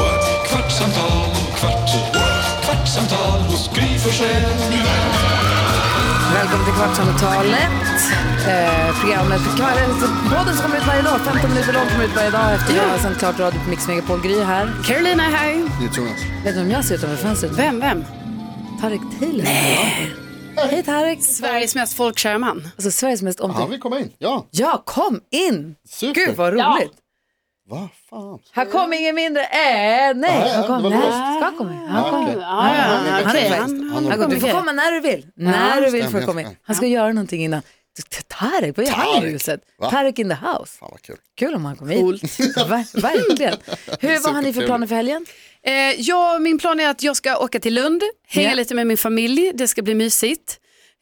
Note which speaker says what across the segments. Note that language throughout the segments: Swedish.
Speaker 1: what? kvartsamtal, kvart, what? kvartsamtal hos Gry Forssell med vänner.
Speaker 2: Välkommen till Kvartsamtalet. Eh, programmet Kvarren- podden som kommer ut varje dag. 15 minuter lång kommer ut varje dag efter att vi har sänt klart radio på Mix Megapol. Gry här.
Speaker 3: Carolina är här.
Speaker 2: Vet du om jag ser ut utanför fönstret?
Speaker 3: Vem, vem?
Speaker 2: Tarek Taylor. Nej. Hej Tarek.
Speaker 3: Sveriges mest folkkära man.
Speaker 2: Alltså Sveriges mest
Speaker 4: Han
Speaker 2: omtyckta.
Speaker 4: vill komma in, ja.
Speaker 2: Ja, kom in!
Speaker 4: Super.
Speaker 2: Gud vad roligt.
Speaker 4: Vad fan.
Speaker 2: Här kom ingen mindre än... Nej,
Speaker 4: Nej,
Speaker 2: han kom.
Speaker 4: det var
Speaker 2: Nej,
Speaker 4: låst.
Speaker 2: han kom. Han
Speaker 4: Ah,
Speaker 2: kom.
Speaker 4: okej.
Speaker 3: Ja, ja,
Speaker 2: Han är
Speaker 3: okej.
Speaker 2: faktiskt-
Speaker 3: Han-
Speaker 4: Han
Speaker 2: Han
Speaker 4: har
Speaker 2: kom. Du får
Speaker 3: mycket.
Speaker 2: komma när du vill. När du vill får
Speaker 4: stämmer,
Speaker 2: du komma in.
Speaker 4: stämmer.
Speaker 2: Han ska göra någonting innan. Tarek, vad gör han i
Speaker 4: Tarek.
Speaker 2: huset?
Speaker 4: Va?
Speaker 2: Tarek in the house.
Speaker 4: Fan vad kul.
Speaker 2: Kul om han kom hit. Ver- verkligen. Hur, vad har ni för
Speaker 4: Supertrevligt.
Speaker 2: planer för helgen?
Speaker 3: Eh, ja, min plan är att jag ska åka till Lund, hänga
Speaker 2: Ja.
Speaker 3: lite med min familj, det ska bli mysigt.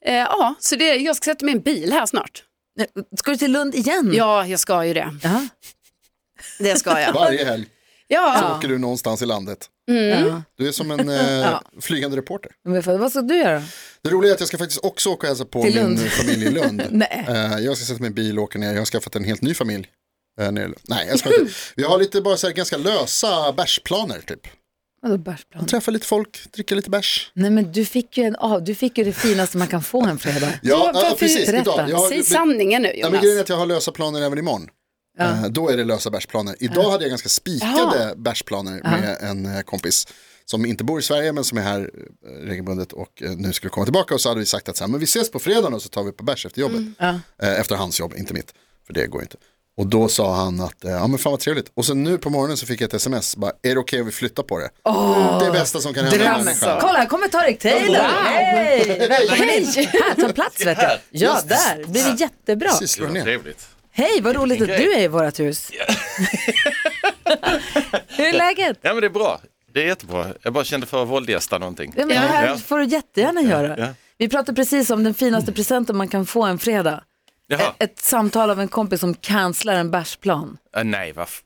Speaker 3: Eh, ja, så det, jag ska sätta mig i en bil här snart.
Speaker 2: Nej, Ska du till Lund igen?
Speaker 4: Mm.
Speaker 3: Ja, jag ska ju det.
Speaker 2: Jaha.
Speaker 3: Det ska jag.
Speaker 4: Varje helg
Speaker 3: Ja,
Speaker 4: åker du någonstans i landet.
Speaker 2: Ja.
Speaker 4: Du är som en eh, flygande reporter.
Speaker 2: Men för- Vad ska du göra?
Speaker 4: Det roliga är att jag ska faktiskt också åka och hälsa på
Speaker 2: Till Lund.
Speaker 4: min familj i Lund.
Speaker 2: Nej.
Speaker 4: Eh, jag ska sätta mig i bil och åka ner. Jag har skaffat en helt ny familj. eh, nere i Lund. Nej, jag ska inte. Vi har lite bara så här, ganska lösa bärsplaner typ.
Speaker 2: Vadå bärsplan?
Speaker 4: Träffa lite folk, dricka lite bärs.
Speaker 2: Nej men du fick ju en av, du fick ju det finaste man kan få en fredag.
Speaker 4: Ja, ja, precis.
Speaker 2: Berätta.
Speaker 4: Idag. Jag har,
Speaker 3: säg sanningen nu
Speaker 4: Ja, men
Speaker 3: Jonas.
Speaker 4: grejen är att jag har lösa planer även imorgon. Eh, Då är det lösa bärsplaner. Idag hade jag ganska spikade bärsplaner med en eh, kompis som inte bor i Sverige men som är här eh, regelbundet och eh, nu skulle komma tillbaka och så hade vi sagt att så här, men vi ses på fredagen och så tar vi på bärs efter jobbet. Eh, Efter hans jobb, inte mitt, för det går ju inte. Och då sa han att, eh, ja men fan vad trevligt. Och sen nu på morgonen så fick jag ett sms, bara, är det okej om vi flyttar på det? det är det bästa som kan hända. en människa.
Speaker 2: Kolla, här kommer Tarek Taylor. Hej! Hej! Här, ta plats vet du. Ja,
Speaker 4: Just det.
Speaker 2: där. Det blir jättebra.
Speaker 4: Precis, slår ner.
Speaker 5: Trevligt.
Speaker 2: Hej, vad roligt att du är i vårt hus. Hur är läget?
Speaker 5: Ja men det är bra. Det är jättebra. Jag bara kände för att våldgästa någonting.
Speaker 2: Ja, men det här får du jättegärna göra.
Speaker 5: ja.
Speaker 2: Vi pratade precis om den finaste presenten man kan få en fredag.
Speaker 5: Jaha.
Speaker 2: Ett, ett samtal av en kompis som cancelar en bärsplan.
Speaker 5: Ja, nej, vad f-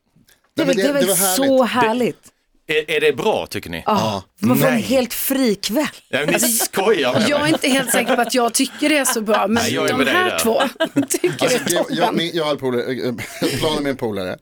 Speaker 2: Det, är väl-
Speaker 4: Nej,
Speaker 2: det är
Speaker 4: men
Speaker 2: väl så härligt?
Speaker 5: är, är det bra tycker ni?
Speaker 2: Ja, Alltså, man får en
Speaker 5: Nej.
Speaker 2: helt fri kväll.
Speaker 5: Ja, men ni skojar med
Speaker 3: Jag är
Speaker 5: mig.
Speaker 3: inte helt säker på att jag tycker det är så bra, men
Speaker 5: Nej, jag är
Speaker 3: de
Speaker 5: med dig
Speaker 3: här
Speaker 5: där.
Speaker 3: två tycker det
Speaker 4: Alltså,
Speaker 3: är
Speaker 4: jag, jag,
Speaker 3: toppen.
Speaker 4: min, jag hade polare, eh, eh, planen med en polare,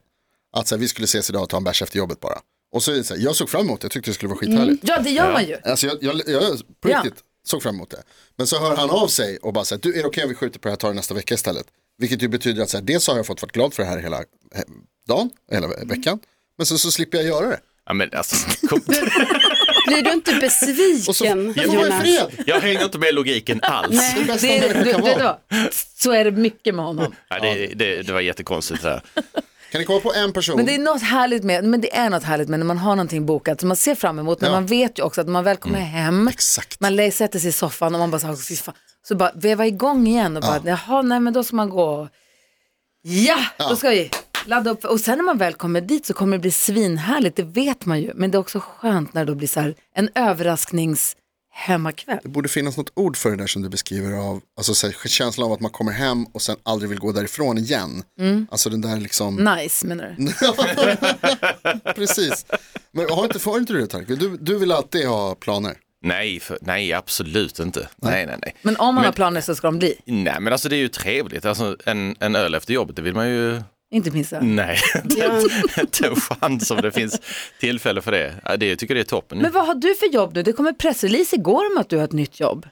Speaker 4: att så här, vi skulle ses idag och ta en bärs efter jobbet bara. Och så, är det så här, jag såg fram emot det, jag tyckte det skulle vara skithärligt.
Speaker 2: Ja, det gör man ju.
Speaker 4: Alltså jag, jag, jag på
Speaker 2: Ja.
Speaker 4: riktigt såg fram emot det. Men så hör han av sig och bara så här, du är det okej om vi skjuter på det här och tar det nästa vecka istället? Vilket ju betyder att så här, dels har jag fått vara glad för det här hela he- dagen, hela ve- veckan. Men så, så slipper jag göra det.
Speaker 5: Ja, men alltså, kom.
Speaker 3: Blir du inte
Speaker 4: Och så,
Speaker 3: besviken
Speaker 4: jag får vara i
Speaker 3: Jonas?
Speaker 4: fred.
Speaker 5: Jag hänger inte med logiken alls.
Speaker 4: Det är det bästa
Speaker 2: Det är,
Speaker 4: människa
Speaker 2: du,
Speaker 4: kan
Speaker 2: vet du
Speaker 4: vara.
Speaker 2: vad? Så är det mycket med honom.
Speaker 5: Ja, det, det, det var jättekonstigt. Så här.
Speaker 4: Kan ni komma på en person?
Speaker 2: Men det är något härligt med, men det är något härligt med när man har någonting bokat som man ser fram emot. Men
Speaker 4: Ja.
Speaker 2: man vet ju också att när man väl kommer hem,
Speaker 4: Exakt.
Speaker 2: man lä- sätter sig i soffan och man bara så, här, "Fy fan." så bara veva igång igen och bara, jaha, nej men då ska man gå. Ja, då ska vi ladda upp. Och sen när man väl kommer dit så kommer det bli svinhärligt, det vet man ju. Men det är också skönt när det då blir så här en överrasknings hemmakväll.
Speaker 4: Det borde finnas något ord för det där som du beskriver av, alltså så här, känslan av att man kommer hem och sen aldrig vill gå därifrån igen.
Speaker 2: Mm.
Speaker 4: Alltså den där liksom,
Speaker 2: Nice menar du?
Speaker 4: precis. Men har inte, får inte du det Tarek? Du, du vill alltid ha planer.
Speaker 5: Nej, för, nej, absolut inte. Nej, nej, nej.
Speaker 2: Men om man har planer så ska de bli,
Speaker 5: Nej, men alltså det är ju trevligt. Alltså, en, en öl efter jobbet, det vill man ju...
Speaker 2: inte minsta.
Speaker 5: Nej, ta- ta en chans om det finns tillfälle för det. Ja, det jag tycker det är toppen.
Speaker 2: Men vad har du för jobb nu? Det kom en pressrelease igår om att du har ett nytt jobb.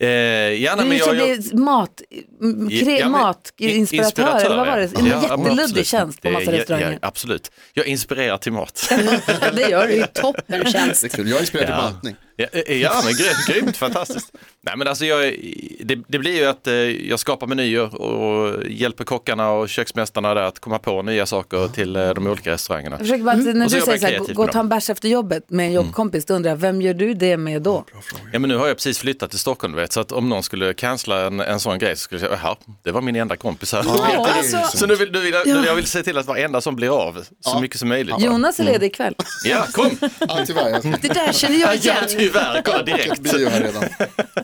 Speaker 5: eh, ja, nej,
Speaker 2: Du
Speaker 5: men
Speaker 2: ska
Speaker 5: jag, jag,
Speaker 2: bli mat, m- kre,
Speaker 5: Ja, men-
Speaker 2: matinspiratör, eller vad var det? En
Speaker 5: Ja, men
Speaker 2: jätteluddig
Speaker 5: absolut.
Speaker 2: tjänst på
Speaker 5: Det-
Speaker 2: massa
Speaker 5: ja,
Speaker 2: restauranger.
Speaker 5: Ja, absolut, jag inspirerar till mat.
Speaker 2: det gör du ju.
Speaker 3: Toppen känns.
Speaker 4: Det är kul. Jag är inspirerad till
Speaker 5: Ja.
Speaker 4: bantning.
Speaker 5: Ja, eh, ja men grymt, grymt fantastiskt. Nej, men alltså jag, det, det blir ju att eh, jag skapar menyer och hjälper kockarna och köksmästarna där att komma på nya saker till eh, de olika restaurangerna.
Speaker 2: Jag försöker bara, att- när
Speaker 5: Mm. Och så
Speaker 2: du
Speaker 5: jobbar
Speaker 2: säger så
Speaker 5: jag
Speaker 2: här, gå
Speaker 5: kreativt
Speaker 2: gå och
Speaker 5: med
Speaker 2: ta
Speaker 5: dem.
Speaker 2: en bärs efter jobbet med en jobbkompis, då undrar jag, vem gör du det med då?
Speaker 5: Ja, men nu har jag precis flyttat till Stockholm, du vet, så att om någon skulle cancella en, en sån grej så skulle jag säga, jaha, det var min enda kompis här.
Speaker 4: Ja,
Speaker 2: alltså,
Speaker 5: så nu vill, nu vill jag, jag vill se till att varenda som blir av, så mycket som möjligt. Ja, Mm.
Speaker 2: Jonas är ledig ikväll.
Speaker 5: kom!
Speaker 4: Ja, tyvärr. Jag
Speaker 3: Det där känner jag
Speaker 5: Ja,
Speaker 3: igen.
Speaker 5: tyvärr, kolla direkt.
Speaker 4: blir ju här redan.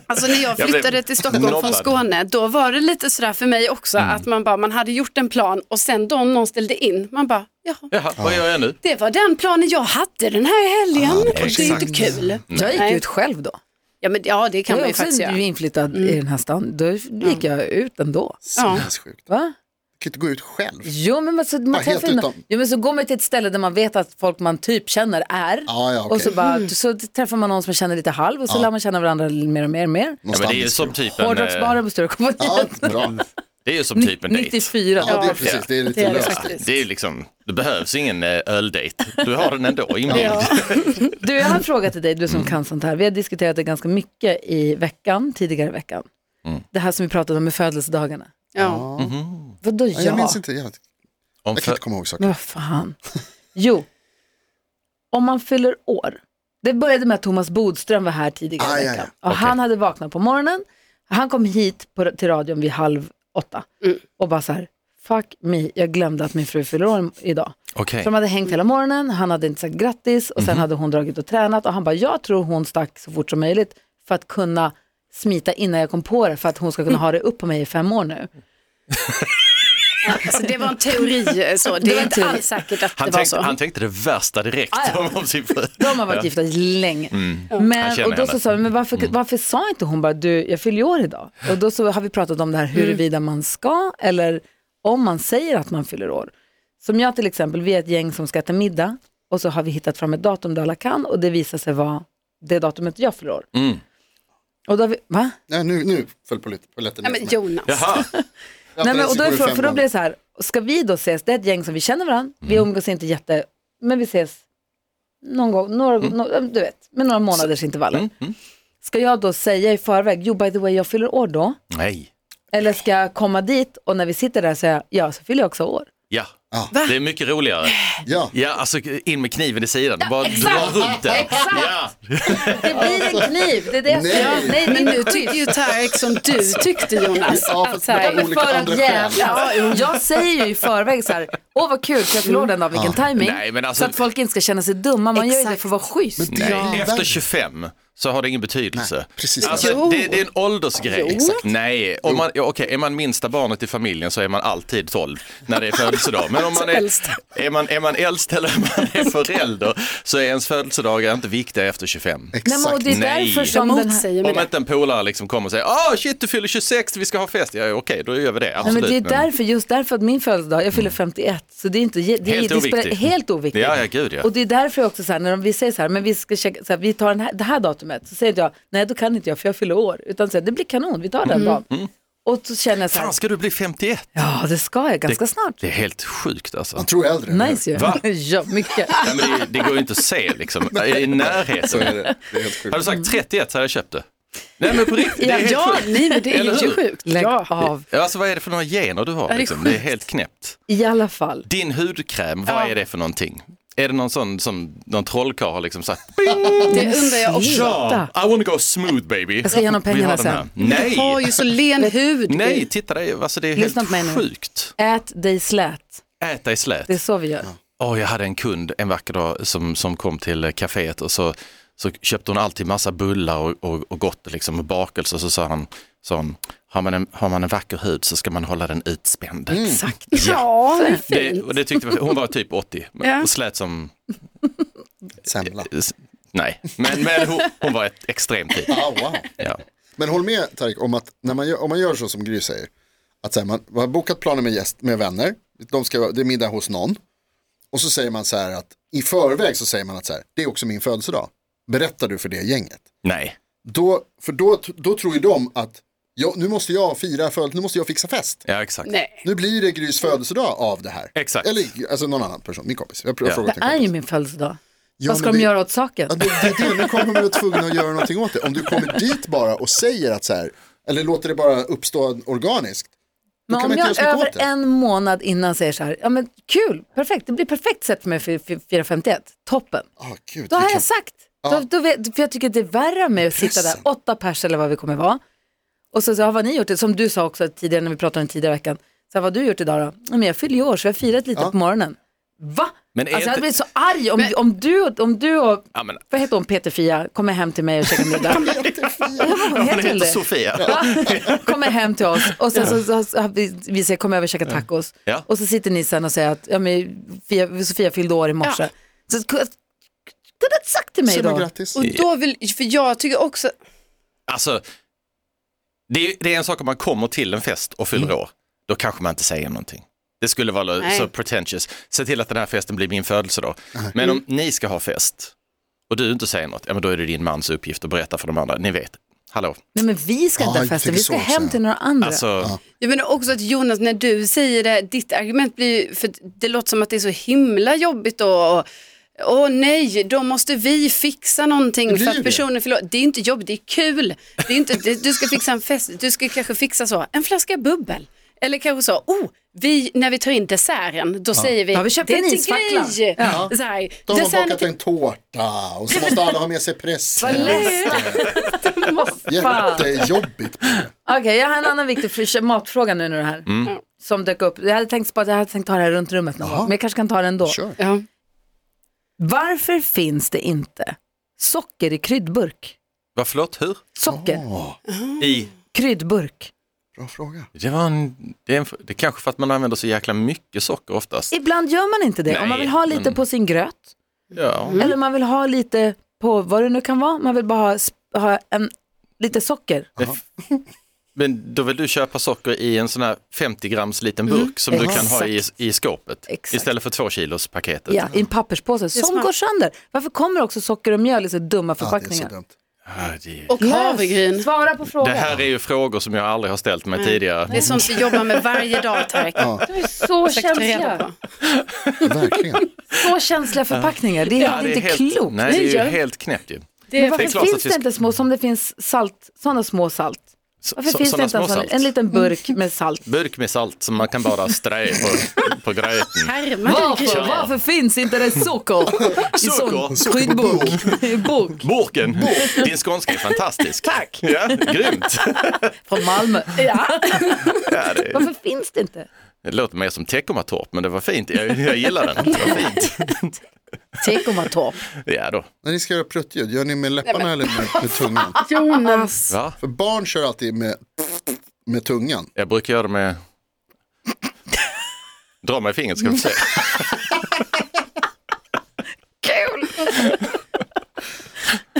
Speaker 3: Alltså när jag
Speaker 5: Jag blev
Speaker 3: flyttade till Stockholm från
Speaker 5: nobbad.
Speaker 3: Skåne, då var det lite sådär för mig också
Speaker 5: Mm.
Speaker 3: att man bara, man hade gjort en plan och sen då någon ställde in, man bara, jaha.
Speaker 5: Jaha, vad gör jag nu?
Speaker 3: Det var den planen jag hade den här helgen. och det är inte
Speaker 5: Mm.
Speaker 3: kul.
Speaker 2: Jag gick
Speaker 3: Nej.
Speaker 2: ut själv då.
Speaker 3: Ja, men, ja det kan
Speaker 2: Jag
Speaker 3: man
Speaker 2: är
Speaker 3: ju
Speaker 2: också
Speaker 3: faktiskt göra. Mm.
Speaker 2: inflyttad i den här stan. Då gick jag ut ändå.
Speaker 3: Ja.
Speaker 4: Sinnessjukt.
Speaker 2: Va?
Speaker 4: Du kan inte gå ut själv.
Speaker 2: Jo men, man- så, man
Speaker 4: Ja, helt
Speaker 2: träffar ju någon,
Speaker 4: utan-
Speaker 2: jo men så går man till ett ställe där man vet att folk man typ känner är.
Speaker 4: Ja, ja, okej.
Speaker 2: Och så,
Speaker 4: Mm.
Speaker 2: bara, så träffar man någon som man känner lite halv och så lär man känna varandra mer och mer och mer.
Speaker 5: Ja, men det är ju som typ en, eh,
Speaker 2: Hårdrocksbaren på Stora
Speaker 4: Ja,
Speaker 2: kompaniet.
Speaker 4: bra.
Speaker 5: det är ju som typ en dejt.
Speaker 2: 94.
Speaker 4: Ja, det är precis. Det är
Speaker 3: Det är
Speaker 4: lite
Speaker 3: det
Speaker 4: löst.
Speaker 3: faktiskt.
Speaker 5: Det är ju liksom, det behövs ingen eh, öldejt. Du har den ändå inbyggd.
Speaker 2: Du, jag har en fråga till dig, du som kan sånt här. Vi har diskuterat det ganska mycket i veckan, tidigare i veckan. Det här som vi pratade om med födelsedagarna.
Speaker 3: Ja.
Speaker 2: Vadå
Speaker 4: Ja,
Speaker 2: ja?
Speaker 4: jag minns inte. Jag,
Speaker 5: Om
Speaker 4: jag
Speaker 5: för,
Speaker 4: kan inte komma ihåg
Speaker 2: Men
Speaker 4: saker.
Speaker 2: vad fan. Jo, om man fyller år. Det började med att Thomas Bodström var här tidigare
Speaker 4: Ah,
Speaker 2: i
Speaker 4: ja,
Speaker 2: veckan. Och Han hade vaknat på morgonen. Han kom hit på, till radion vid halv åtta
Speaker 4: Mm.
Speaker 2: och bara så här, fuck me, jag glömde att min fru fyller år idag.
Speaker 5: Okej.
Speaker 2: Så de hade hängt hela morgonen, han hade inte sagt grattis och sen
Speaker 4: Mhm.
Speaker 2: hade hon dragit och tränat och han bara, jag tror hon stack så fort som möjligt för att kunna smita innan jag kom på det för att hon ska
Speaker 4: Mm.
Speaker 2: kunna ha det upp på mig i fem år nu.
Speaker 3: Alltså, det var en teori eh, så.
Speaker 2: Det
Speaker 3: Det
Speaker 2: var
Speaker 3: är
Speaker 2: en
Speaker 3: inte
Speaker 2: teori.
Speaker 3: alls säkert att
Speaker 5: han,
Speaker 3: det var
Speaker 5: tänkte,
Speaker 3: så.
Speaker 5: han tänkte det värsta direkt
Speaker 2: Ah, ja.
Speaker 5: om, om sin fru.
Speaker 2: De har varit
Speaker 5: Ja.
Speaker 2: gifta länge.
Speaker 5: Jag
Speaker 2: Men,
Speaker 5: känner
Speaker 2: och då så
Speaker 5: henne.
Speaker 2: sa vi, men varför, varför sa inte hon bara, du, jag fyller ju år idag? Och då så har vi pratat om det här huruvida man ska eller om man säger att man fyller år. Som jag till exempel, vi är ett gäng som ska äta middag och så har vi hittat fram ett datum där alla kan och det visar sig vara det datumet jag fyller år.
Speaker 5: Mm.
Speaker 2: Och då har vi, va?
Speaker 4: Nej, nu, nu föll på lite- på lätten
Speaker 3: Nej, men Jonas.
Speaker 5: Jaha,
Speaker 2: Nej, men, och då är för, för då blir det så här, ska vi då ses, det är ett gäng som vi känner varandra, vi umgås inte jätte, men vi ses någon gång, några, nå- du vet, med några månaders intervaller.
Speaker 5: Mm,
Speaker 2: Ska jag då säga i förväg, jo by the way jag fyller år då,
Speaker 5: nej.
Speaker 2: eller ska jag komma dit och när vi sitter där säga, ja så fyller jag också år.
Speaker 5: Ja,
Speaker 4: Ja.
Speaker 5: det är mycket roligare.
Speaker 4: Ja,
Speaker 5: Ja, alltså in med kniven i sidan, bara dra runt den. Ja.
Speaker 2: Det blir en kniv, det är det jag Alltså, säger.
Speaker 4: Nej.
Speaker 2: Nej, men
Speaker 3: Men nu tycker ju Tarek som du tyckte Jonas.
Speaker 4: Ja, fast
Speaker 3: att, så här,
Speaker 4: det var-
Speaker 2: för
Speaker 4: olika andra
Speaker 2: att
Speaker 4: skäl.
Speaker 2: jävla. Jag säger ju i förväg så här, åh vad kul, ska jag fylla år den dagen, vilken timing.
Speaker 5: Nej, men alltså-
Speaker 2: Så att folk inte ska känna sig dumma, man gör ju det
Speaker 3: Exakt.
Speaker 2: för att vara schysst.
Speaker 5: Nej,
Speaker 4: Ja.
Speaker 5: efter 25 så har det ingen betydelse.
Speaker 4: Nej, precis.
Speaker 5: Alltså,
Speaker 3: Jo.
Speaker 5: det, det är en åldersgrej.
Speaker 3: Jo.
Speaker 5: Exakt. Nej, om man, ja, okej, är man minsta barnet i familjen så är man alltid 12 när det är födelsedag. Men om man är,
Speaker 3: äldst.
Speaker 5: är, man, är man äldst eller om man är förälder så är ens födelsedagar inte viktiga efter 25.
Speaker 2: Nej, men, och
Speaker 4: exakt.
Speaker 2: det är
Speaker 5: Nej.
Speaker 2: därför
Speaker 5: Jag
Speaker 2: som den
Speaker 3: Jag
Speaker 2: här...
Speaker 3: motsäger mig
Speaker 5: Om
Speaker 3: det.
Speaker 5: inte en polare liksom kommer och säger ah shit du fyller 26, vi ska ha fest. Ja, okej, då gör vi det.
Speaker 2: Nej, men
Speaker 5: Absolut.
Speaker 2: det är
Speaker 5: men-
Speaker 2: därför, just därför att min födelsedag, jag fyller 51, så det är inte, det är,
Speaker 5: Helt
Speaker 2: det spelar,
Speaker 5: oviktigt.
Speaker 2: helt oviktigt.
Speaker 5: Ja, ja, gud, ja.
Speaker 2: Och det är därför jag också så här, när de, vi säger så här, men vi ska checka, så här, vi tar den här, det här datumet, så säger inte jag, nej då kan inte jag för jag fyller år, utan så här, det blir kanon, vi tar den dagen. Och så känner jag så här,
Speaker 5: Fan, ska du bli 51?
Speaker 2: ja det ska jag ganska snart.
Speaker 5: Det är helt sjukt alltså.
Speaker 4: Man tror äldre.
Speaker 2: Nice ju.
Speaker 5: Va?
Speaker 2: ja, mycket.
Speaker 5: Nej, men det, det går ju inte att se liksom, i
Speaker 4: Så
Speaker 5: närheten.
Speaker 4: är det. Det är helt sjukt.
Speaker 5: Hade du
Speaker 2: Mm.
Speaker 5: sagt 31 så hade jag köpt det. Nej men på riktigt, det är helt
Speaker 3: Ja,
Speaker 5: sjukt.
Speaker 3: nej men det
Speaker 5: Eller
Speaker 3: är ju
Speaker 5: hur?
Speaker 3: sjukt.
Speaker 2: Lägg
Speaker 3: Ja.
Speaker 2: av.
Speaker 5: Ja, Alltså vad är det för några gener du har?
Speaker 3: är
Speaker 5: liksom? Det är
Speaker 3: sjukt.
Speaker 5: helt knäppt.
Speaker 2: I alla fall.
Speaker 5: Din hudkräm, vad
Speaker 3: Ja.
Speaker 5: är det för någonting? Är det någon sån som någon trollkarl har liksom sagt?
Speaker 3: Det undrar jag också.
Speaker 5: Ja, I wanna go smooth baby.
Speaker 2: Jag ska ge honom
Speaker 5: Vi har
Speaker 2: pengarna
Speaker 5: den här.
Speaker 2: sen.
Speaker 3: Du har
Speaker 5: Nej,
Speaker 3: ju så len hud.
Speaker 5: nej, titta det är- alltså det är
Speaker 2: Lyssna på mig nu.
Speaker 5: helt sjukt.
Speaker 2: Ät dig slät,
Speaker 5: Äta i slät.
Speaker 2: det är så vi gör.
Speaker 5: Åh, jag hade en kund en vacker dag som, som kom till eh, kaféet och så, så köpte hon alltid massa bullar och, och, och gott liksom, och bakelse och så sa han, sa hon, har, man en, har man en vacker hud så ska man hålla den utspänd.
Speaker 2: Exakt.
Speaker 3: Ja, det är
Speaker 5: Det,
Speaker 3: fint.
Speaker 5: och det tyckte jag- hon var typ 80, men
Speaker 3: Ja.
Speaker 5: och slät som, Eh,
Speaker 4: Semla.
Speaker 5: s- nej, men, men hon, hon var ett extremt typ.
Speaker 4: Ah, wow.
Speaker 5: Ja.
Speaker 4: Men håll med Tarik om att när man gör, om man gör så som Gry säger, att så här, man, man har bokat planer med, gäst, med vänner, de ska, det är middag hos någon, och så säger man så här att i förväg så säger man att så här, det är också min födelsedag, berättar du för det gänget?
Speaker 5: Nej,
Speaker 4: Då, för då, då tror ju de att ja, nu måste jag fira födelsedag, nu måste jag fixa fest.
Speaker 5: ja exakt.
Speaker 3: Nej.
Speaker 4: Nu blir det Grys födelsedag av det här.
Speaker 5: Exakt.
Speaker 4: Eller alltså någon annan person, min kompis. Jag har
Speaker 5: Ja.
Speaker 4: frågat
Speaker 2: Det
Speaker 4: en
Speaker 2: är ju
Speaker 4: kompis.
Speaker 2: min födelsedag.
Speaker 4: Ja,
Speaker 2: Vad ska
Speaker 4: men
Speaker 2: de
Speaker 4: det-
Speaker 2: göra åt saken?
Speaker 4: Ja, det, det, är det, nu kommer man vara tvungen att göra någonting åt det. Om du kommer dit bara och säger att så här, eller låter det bara uppstå organiskt.
Speaker 2: Men
Speaker 4: kan
Speaker 2: om
Speaker 4: man inte
Speaker 2: jag
Speaker 4: göra så mycket
Speaker 2: över
Speaker 4: åt det.
Speaker 2: en månad innan säger så här, ja men kul, perfekt, det blir perfekt sätt för mig för för 451, toppen.
Speaker 4: Ah, gud,
Speaker 2: Då har
Speaker 4: vilken-
Speaker 2: jag sagt, då, då vet, för jag tycker att det är värre med att sitta där,
Speaker 4: Pressen.
Speaker 2: åtta pers eller vad vi kommer vara. Och så, så har vad ni gjort, som du sa också tidigare när vi pratade om tidigare veckan, så här, vad har du gjort idag då? Ja, men jag fyller ju år så jag har firat lite på morgonen. Va?
Speaker 5: Men är
Speaker 2: alltså jag hade
Speaker 5: inte-
Speaker 2: blivit så arg om, om, du, och- om du och,
Speaker 5: Ja, men-
Speaker 2: vad heter hon, Peter-Fia, kommer hem till mig och käkar middag. Vad
Speaker 5: Hon
Speaker 2: hon
Speaker 5: heter
Speaker 2: det?
Speaker 5: Sofia.
Speaker 2: Va? kommer hem till oss och sen så, så, så vi, vi säger kom över och käka tacos.
Speaker 5: Ja.
Speaker 2: Och så sitter ni sen och säger att ja, men, Fia, Sofia fyllde år i morse. Så kunde kunde ha sagt till mig
Speaker 4: Så men
Speaker 2: då.
Speaker 4: grattis.
Speaker 3: Och då vill, för jag tycker också,
Speaker 5: Alltså, det är, det är en sak om man kommer till en fest och fyller år. Då kanske man inte säger någonting. Det skulle vara
Speaker 3: Nej.
Speaker 5: så pretentious. Se till att den här festen blir min födelsedag. Men om ni ska ha fest och du inte säger något, ja, men då är det din mans uppgift att berätta för de andra. Ni vet, hallå.
Speaker 2: Nej men vi ska inte
Speaker 4: Ja,
Speaker 2: ha
Speaker 4: jag
Speaker 2: fester, vi
Speaker 4: tycker
Speaker 2: ska
Speaker 4: så
Speaker 2: hem
Speaker 4: också.
Speaker 2: till några andra.
Speaker 5: Alltså,
Speaker 3: jag menar också att Jonas när du säger det, ditt argument blir ju- för det låter som att det är så himla jobbigt och, och Åh nej, då måste vi fixa någonting
Speaker 4: blir
Speaker 3: för
Speaker 4: ju
Speaker 3: att
Speaker 4: det.
Speaker 3: personen förlorar. Det är inte jobbigt, det är kul. Det är inte, det, du ska fixa en fest, du ska kanske fixa så, en flaska bubbel. Eller kanske så, oh, vi, när vi tar in desserten, då säger vi,
Speaker 2: Ja, vi köpte
Speaker 3: det är
Speaker 2: en
Speaker 3: inte
Speaker 2: isfackla."
Speaker 3: grej.
Speaker 2: Ja.
Speaker 3: Så här,
Speaker 4: De har
Speaker 3: desserten
Speaker 4: bakat en tårta och så måste alla ha med sig presshäst.
Speaker 2: Fan.
Speaker 4: Jättejobbigt.
Speaker 2: Okej, jag har en annan viktig fri- matfråga nu när det här.
Speaker 5: Mm.
Speaker 2: Som dök upp. Jag hade tänkt spara- jag hade tänkt ta det här runt rummet någon gång, men jag kanske kan ta det ändå.
Speaker 4: Kör.
Speaker 3: Ja.
Speaker 2: Varför finns det inte socker i kryddburk?
Speaker 5: vad förlåt, hur?
Speaker 2: Socker,
Speaker 4: Ah.
Speaker 5: I,
Speaker 2: kryddburk.
Speaker 4: Bra fråga.
Speaker 5: det, var en, det, är en, det är kanske för att man använder så jäkla mycket socker oftast.
Speaker 2: Ibland gör man inte det. Om man
Speaker 5: Nej,
Speaker 2: vill ha lite
Speaker 5: men-
Speaker 2: på sin gröt
Speaker 5: Ja.
Speaker 2: eller man vill ha lite på vad det nu kan vara. Man vill bara ha, sp- ha en, lite socker.
Speaker 5: Men då vill du köpa socker i en sån här 50 grams liten burk som du kan ha i, i skåpet
Speaker 2: Mm, Exakt.
Speaker 5: istället för två kilos paketet.
Speaker 2: Ja, I en papperspåse som
Speaker 3: smart.
Speaker 2: går sönder. Varför kommer också socker och mjöl i så dumma
Speaker 4: Ja, det är så
Speaker 2: förpackningar?
Speaker 4: dumt.
Speaker 5: Ah, det-
Speaker 3: Och havregryn.
Speaker 2: Svara på
Speaker 5: Det
Speaker 2: frågan.
Speaker 5: här är ju frågor som jag aldrig har ställt
Speaker 2: Mm.
Speaker 5: mig tidigare.
Speaker 3: Det är sånt vi jobbar med varje dag, Tarek.
Speaker 2: De är så
Speaker 3: Försökt ta reda
Speaker 2: känsliga.
Speaker 3: på.
Speaker 4: Verkligen.
Speaker 2: Så känsliga förpackningar. Det är, det är inte klokt.
Speaker 5: Nej, det är ju
Speaker 3: Nej, jag-
Speaker 5: helt knäppt ju.
Speaker 2: Men
Speaker 5: det är
Speaker 2: varför
Speaker 5: klart
Speaker 2: finns
Speaker 5: att
Speaker 2: det
Speaker 5: vi ska-
Speaker 2: inte små som det finns salt, sådana små salt?
Speaker 5: Så-
Speaker 2: Varför
Speaker 5: så-
Speaker 2: finns det
Speaker 5: sådana
Speaker 2: inte en,
Speaker 5: små
Speaker 2: sån,
Speaker 5: salt.
Speaker 2: en liten burk med salt?
Speaker 5: Burk med salt som man kan bara strö på, på gröten.
Speaker 3: Härmar du
Speaker 2: Varför,
Speaker 3: Gry?
Speaker 2: varför finns inte det socker i
Speaker 5: Socker.
Speaker 2: sån kryddburk? I burk.
Speaker 5: Burken, din skånska är fantastisk. Tack! Ja, grymt.
Speaker 2: Från Malmö. Ja.
Speaker 5: Ja, det,
Speaker 2: Varför finns det inte?
Speaker 5: det låter mer som Teckomatorp, men det var fint. Jag, jag gillar den. Det var fint.
Speaker 2: Teckomatorp.
Speaker 5: Ja då.
Speaker 4: När ni ska göra pruttljud, gör ni med läpparna eller med, med tungan?
Speaker 3: Jonas.
Speaker 5: Va?
Speaker 4: För barn kör alltid med, med tungan.
Speaker 5: Jag brukar göra det med... Dra mig i fingret ska du få se.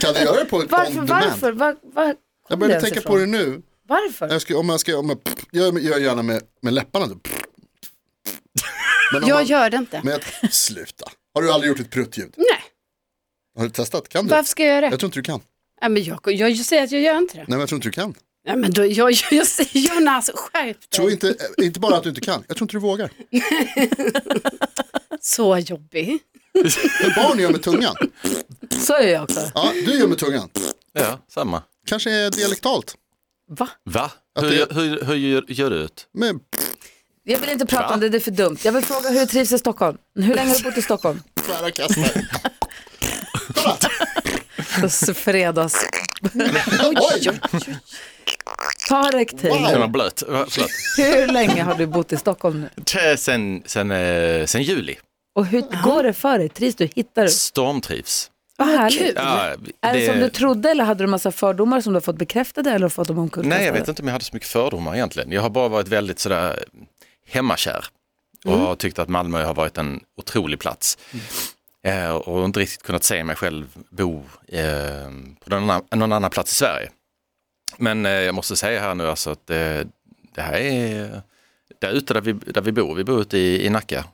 Speaker 4: Kan du göra det på
Speaker 2: Varför,
Speaker 4: on demand?
Speaker 2: varför? Var, var
Speaker 4: Jag
Speaker 2: kom det
Speaker 4: började
Speaker 2: ens
Speaker 4: tänka
Speaker 2: ifrån?
Speaker 4: på det nu.
Speaker 2: Varför?
Speaker 4: Jag ska, om jag ska, om jag, jag gör gärna med, med läpparna. Då. Men, om
Speaker 3: Jag
Speaker 4: man,
Speaker 3: gör det inte.
Speaker 4: men jag, sluta. Har du aldrig gjort ett pruttljud?
Speaker 3: Nej,
Speaker 4: Har du testat? Kan du?
Speaker 3: varför ska jag göra det?
Speaker 4: Jag tror inte du kan.
Speaker 3: Nej, men jag, jag säger att jag gör inte det.
Speaker 4: Nej, men jag tror inte du kan.
Speaker 3: Nej, men då, jag, jag, jag säger Jonas, skärp dig.
Speaker 4: Tror inte, eh, inte bara att du inte kan, jag tror inte du vågar.
Speaker 3: Så jobbig.
Speaker 4: Men barn gör med tungan.
Speaker 2: Så är jag också.
Speaker 4: Ja, du gör med tungan.
Speaker 5: Ja, samma.
Speaker 4: Kanske är dialektalt.
Speaker 2: Va?
Speaker 5: Va?
Speaker 4: Att
Speaker 5: Hur,
Speaker 4: det-
Speaker 5: hur, hur gör, gör du ut?
Speaker 4: Men
Speaker 2: Jag vill inte prata
Speaker 5: Va?
Speaker 2: om det, det är för dumt. Jag vill fråga hur du trivs i Stockholm. Hur länge har du bott i Stockholm?
Speaker 4: tvära kastar.
Speaker 2: Så Alltså, fredags.
Speaker 4: Oj,
Speaker 2: Tarek Taylor,
Speaker 5: Den var blöt. Va, Förlåt.
Speaker 2: hur länge har du bott i Stockholm nu?
Speaker 5: Tja, Sen, sen, eh, sen juli.
Speaker 2: Och hur går det för dig? Trivs du? Hittar du?
Speaker 5: Stormtrivs.
Speaker 2: Vad härligt.
Speaker 5: Ja,
Speaker 2: Är det som du trodde eller hade du massa fördomar som du har fått bekräftade eller fått dem omkullkastade?
Speaker 5: Nej, jag vet inte om jag hade så mycket fördomar egentligen. Jag har bara varit väldigt sådär hemmakär och
Speaker 2: Mm.
Speaker 5: har tyckt att Malmö har varit en otrolig plats. Eh, och inte riktigt kunnat se mig själv bo eh, på någon annan, någon annan plats i Sverige. Men eh, jag måste säga här nu alltså att eh, det här är, där ute där vi, där vi bor, vi bor ute i, i Nacka.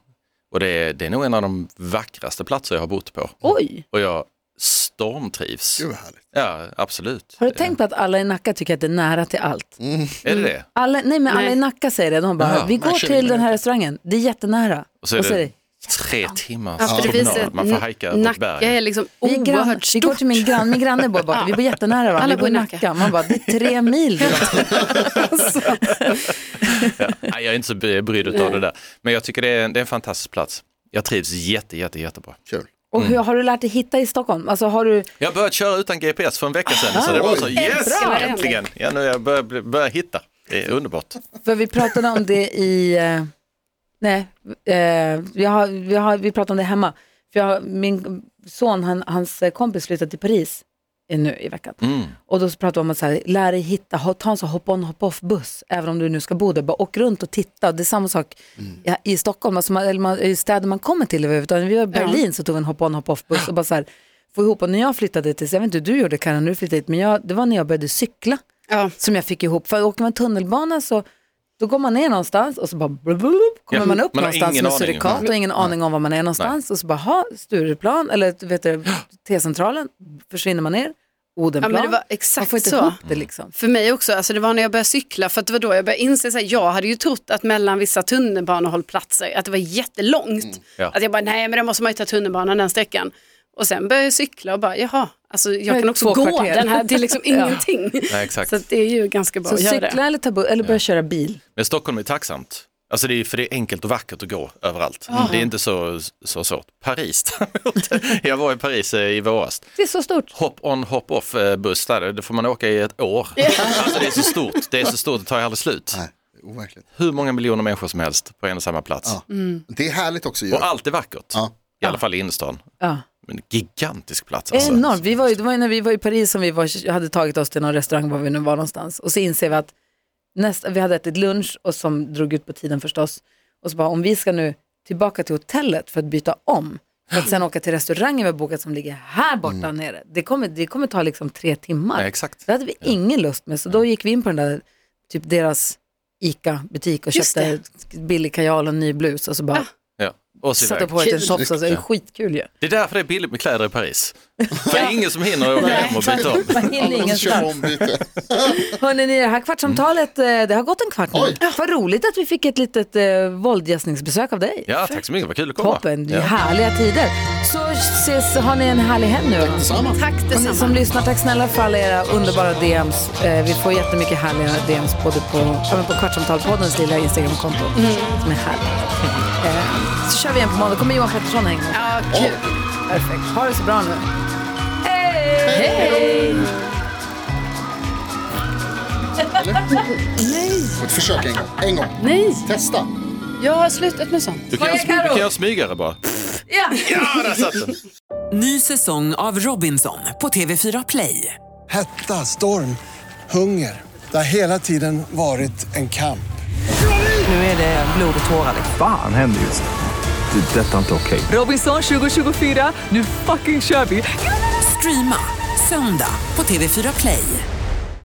Speaker 5: Och det är, det är nog en av de vackraste platser jag har bott på.
Speaker 2: Oj,
Speaker 5: Och jag stormtrivs.
Speaker 4: Gud vad härligt.
Speaker 5: Ja, absolut.
Speaker 2: har du tänkt på att alla i Nacka tycker att det är nära till allt?
Speaker 5: Är det det?
Speaker 2: Alla, nej men alla
Speaker 3: Nej.
Speaker 2: i Nacka säger det, de bara,
Speaker 5: Ja,
Speaker 2: vi går
Speaker 4: nej,
Speaker 2: till den här restaurangen, det är jättenära. Och så är det,
Speaker 5: Tre timmars
Speaker 3: Ja, för det finns
Speaker 5: promenad.
Speaker 3: ett,
Speaker 5: Man får hajka upp ett
Speaker 3: Nacka är
Speaker 5: berg.
Speaker 3: liksom
Speaker 2: Vi, är grann,
Speaker 3: oerhört
Speaker 2: vi går
Speaker 3: stort.
Speaker 2: till min granne, min granne bor borta, vi bor jättenära varandra,
Speaker 3: Alla
Speaker 2: vi bor i Nacka. Man bara, det är tre mil dit.
Speaker 5: Nej, jag är inte så bry- brydd av det där. Men jag tycker det är, en- det är en fantastisk plats. Jag trivs jätte, jätte, jättebra.
Speaker 4: Kul.
Speaker 2: Och hur har du lärt dig hitta i Stockholm? Alltså har du,
Speaker 5: Jag har börjat köra utan GPS för en vecka sedan. så det var så, yes,
Speaker 3: Bra.
Speaker 5: äntligen! Ja, nu har jag börjat, bli- börjat hitta. Det är underbart.
Speaker 2: för vi pratade om det i, eh, nej, eh, vi, har, vi, har, vi pratade om det hemma. För jag, har- min son, han, hans kompis flyttade till Paris eh, nu i veckan.
Speaker 5: Mm.
Speaker 2: Och då så pratade vi om att så här, lära dig hitta, ha- ta en sån hop-on hop-off-buss, även om du nu ska bo där. Bara åk runt och titta. Det är samma sak
Speaker 5: Mm.
Speaker 2: ja, i Stockholm, alltså man, eller man, i städer man kommer till överhuvudtaget. Vi var i Berlin så tog vi en hop-on hop-off-buss och bara så här, få ihop. Och när jag flyttade till, jag vet inte hur du gjorde Karin, när du flyttade hit, men jag, det var när jag började cykla
Speaker 3: Ja.
Speaker 2: som jag fick ihop. För åker man tunnelbana så då går man ner någonstans och så bara blub, blub, blub, kommer
Speaker 5: Ja,
Speaker 2: man upp
Speaker 5: man har
Speaker 2: någonstans
Speaker 5: ingen
Speaker 2: med
Speaker 5: aning.
Speaker 2: surikat och ingen aning om var man är någonstans. Och så bara, ha, Stureplan eller vet du, T-centralen, försvinner man ner,
Speaker 3: Ja,
Speaker 2: Odenplan.
Speaker 3: men det var
Speaker 2: man får
Speaker 3: exakt
Speaker 2: inte
Speaker 3: så.
Speaker 2: ihop det liksom.
Speaker 3: För mig också, alltså det var när jag började cykla, för att det var då jag började inse, så här, jag hade ju trott att mellan vissa tunnelbanehållplatser, att det var jättelångt.
Speaker 5: Mm, Ja.
Speaker 3: Att jag bara, nej men då måste man ju ta tunnelbanan den sträckan. Och sen började jag cykla och bara, jaha, alltså jag
Speaker 2: är
Speaker 3: kan också
Speaker 2: två
Speaker 3: gå
Speaker 2: kvarter.
Speaker 3: den här, det är liksom
Speaker 2: Ja.
Speaker 3: ingenting.
Speaker 5: Nej, exakt.
Speaker 3: Så att det är ju ganska bra
Speaker 2: Så
Speaker 3: att göra det.
Speaker 2: cykla eller, ta bu- eller börja köra bil.
Speaker 5: Men Stockholm är tacksamt. Alltså det är, för det är enkelt och vackert att gå överallt. Det är inte så, så svårt. Paris däremot. Jag var i Paris eh, i våras.
Speaker 2: Det är så stort.
Speaker 5: Hop-on, hop-off eh, buss där, det får man åka i ett år. Alltså det är så stort, det är så stort, det tar ju aldrig slut.
Speaker 4: Nej, overkligt.
Speaker 5: Hur många miljoner människor som helst på en och samma plats.
Speaker 4: Det är härligt också ju.
Speaker 5: Och allt är vackert.
Speaker 4: Ja.
Speaker 5: I alla fall i innerstan.
Speaker 2: Ja.
Speaker 5: En gigantisk plats alltså.
Speaker 2: Enormt. Vi var ju, det var ju när vi var i Paris som vi var, hade tagit oss till någon restaurang var vi nu var någonstans. Och så inser vi att nästa, vi hade ätit lunch och som drog ut på tiden förstås. Och så bara, om vi ska nu tillbaka till hotellet för att byta om. För att sen åka till restaurangen vi har bokat som ligger här borta nere. Det kommer, det kommer ta liksom tre timmar.
Speaker 5: Nej, exakt.
Speaker 2: Det hade vi ingen lust med. Så då gick vi in på den där, typ deras ICA-butik och
Speaker 3: Just
Speaker 2: köpte billig kajal och en ny blus. Och så bara
Speaker 5: Ja. Och så
Speaker 2: satte
Speaker 5: iväg.
Speaker 2: på ett en
Speaker 3: Kul.
Speaker 2: tofs. och så- alltså, Det är skitkul ju.
Speaker 5: Det är därför det är billigt med kläder i Paris. För det är ingen som hinner åka hem och byta om.
Speaker 2: Man hinner
Speaker 4: Alla måste köra
Speaker 2: ingenstans.
Speaker 4: ombyte.
Speaker 2: Hörrni, ni, det här kvartsamtalet,
Speaker 5: Mm.
Speaker 2: eh, det har gått en kvart nu.
Speaker 4: Oj.
Speaker 2: Vad roligt att vi fick ett litet eh, våldgästningsbesök av dig.
Speaker 5: Ja, tack så mycket, vad kul att komma.
Speaker 2: Toppen,
Speaker 5: Ja.
Speaker 2: härliga tider. Så ses, har ni en härlig helg nu. Tack
Speaker 4: Samma.
Speaker 3: Tack
Speaker 2: Ni som
Speaker 3: detsamma.
Speaker 2: lyssnar, tack snälla för alla era underbara DMs. Eh, vi får jättemycket härliga DMs både på, ja, men på Kvartsamtalpoddens lilla Instagramkonto
Speaker 3: Mm.
Speaker 2: som är härligt. Eh, så kör vi igen på måndag. kommer Johan Pettersson hänga.
Speaker 3: Ja, kul.
Speaker 2: Perfekt, ha det så bra nu.
Speaker 4: Får ett försök en gång. En gång.
Speaker 3: Nej,
Speaker 4: Testa.
Speaker 3: jag har slutat med sånt.
Speaker 5: Du kan, göra- du kan göra smygare bara.
Speaker 6: Ny säsong av Robinson på TV4 Play.
Speaker 7: Hetta, storm, hunger. Det har hela tiden varit en kamp.
Speaker 6: Nu är det blod och tårar. liksom.
Speaker 8: Fan händer just nu. Det. är Detta är inte okej.
Speaker 6: Robinson 2024, nu fucking kör vi! Streama söndag på TV4 Play.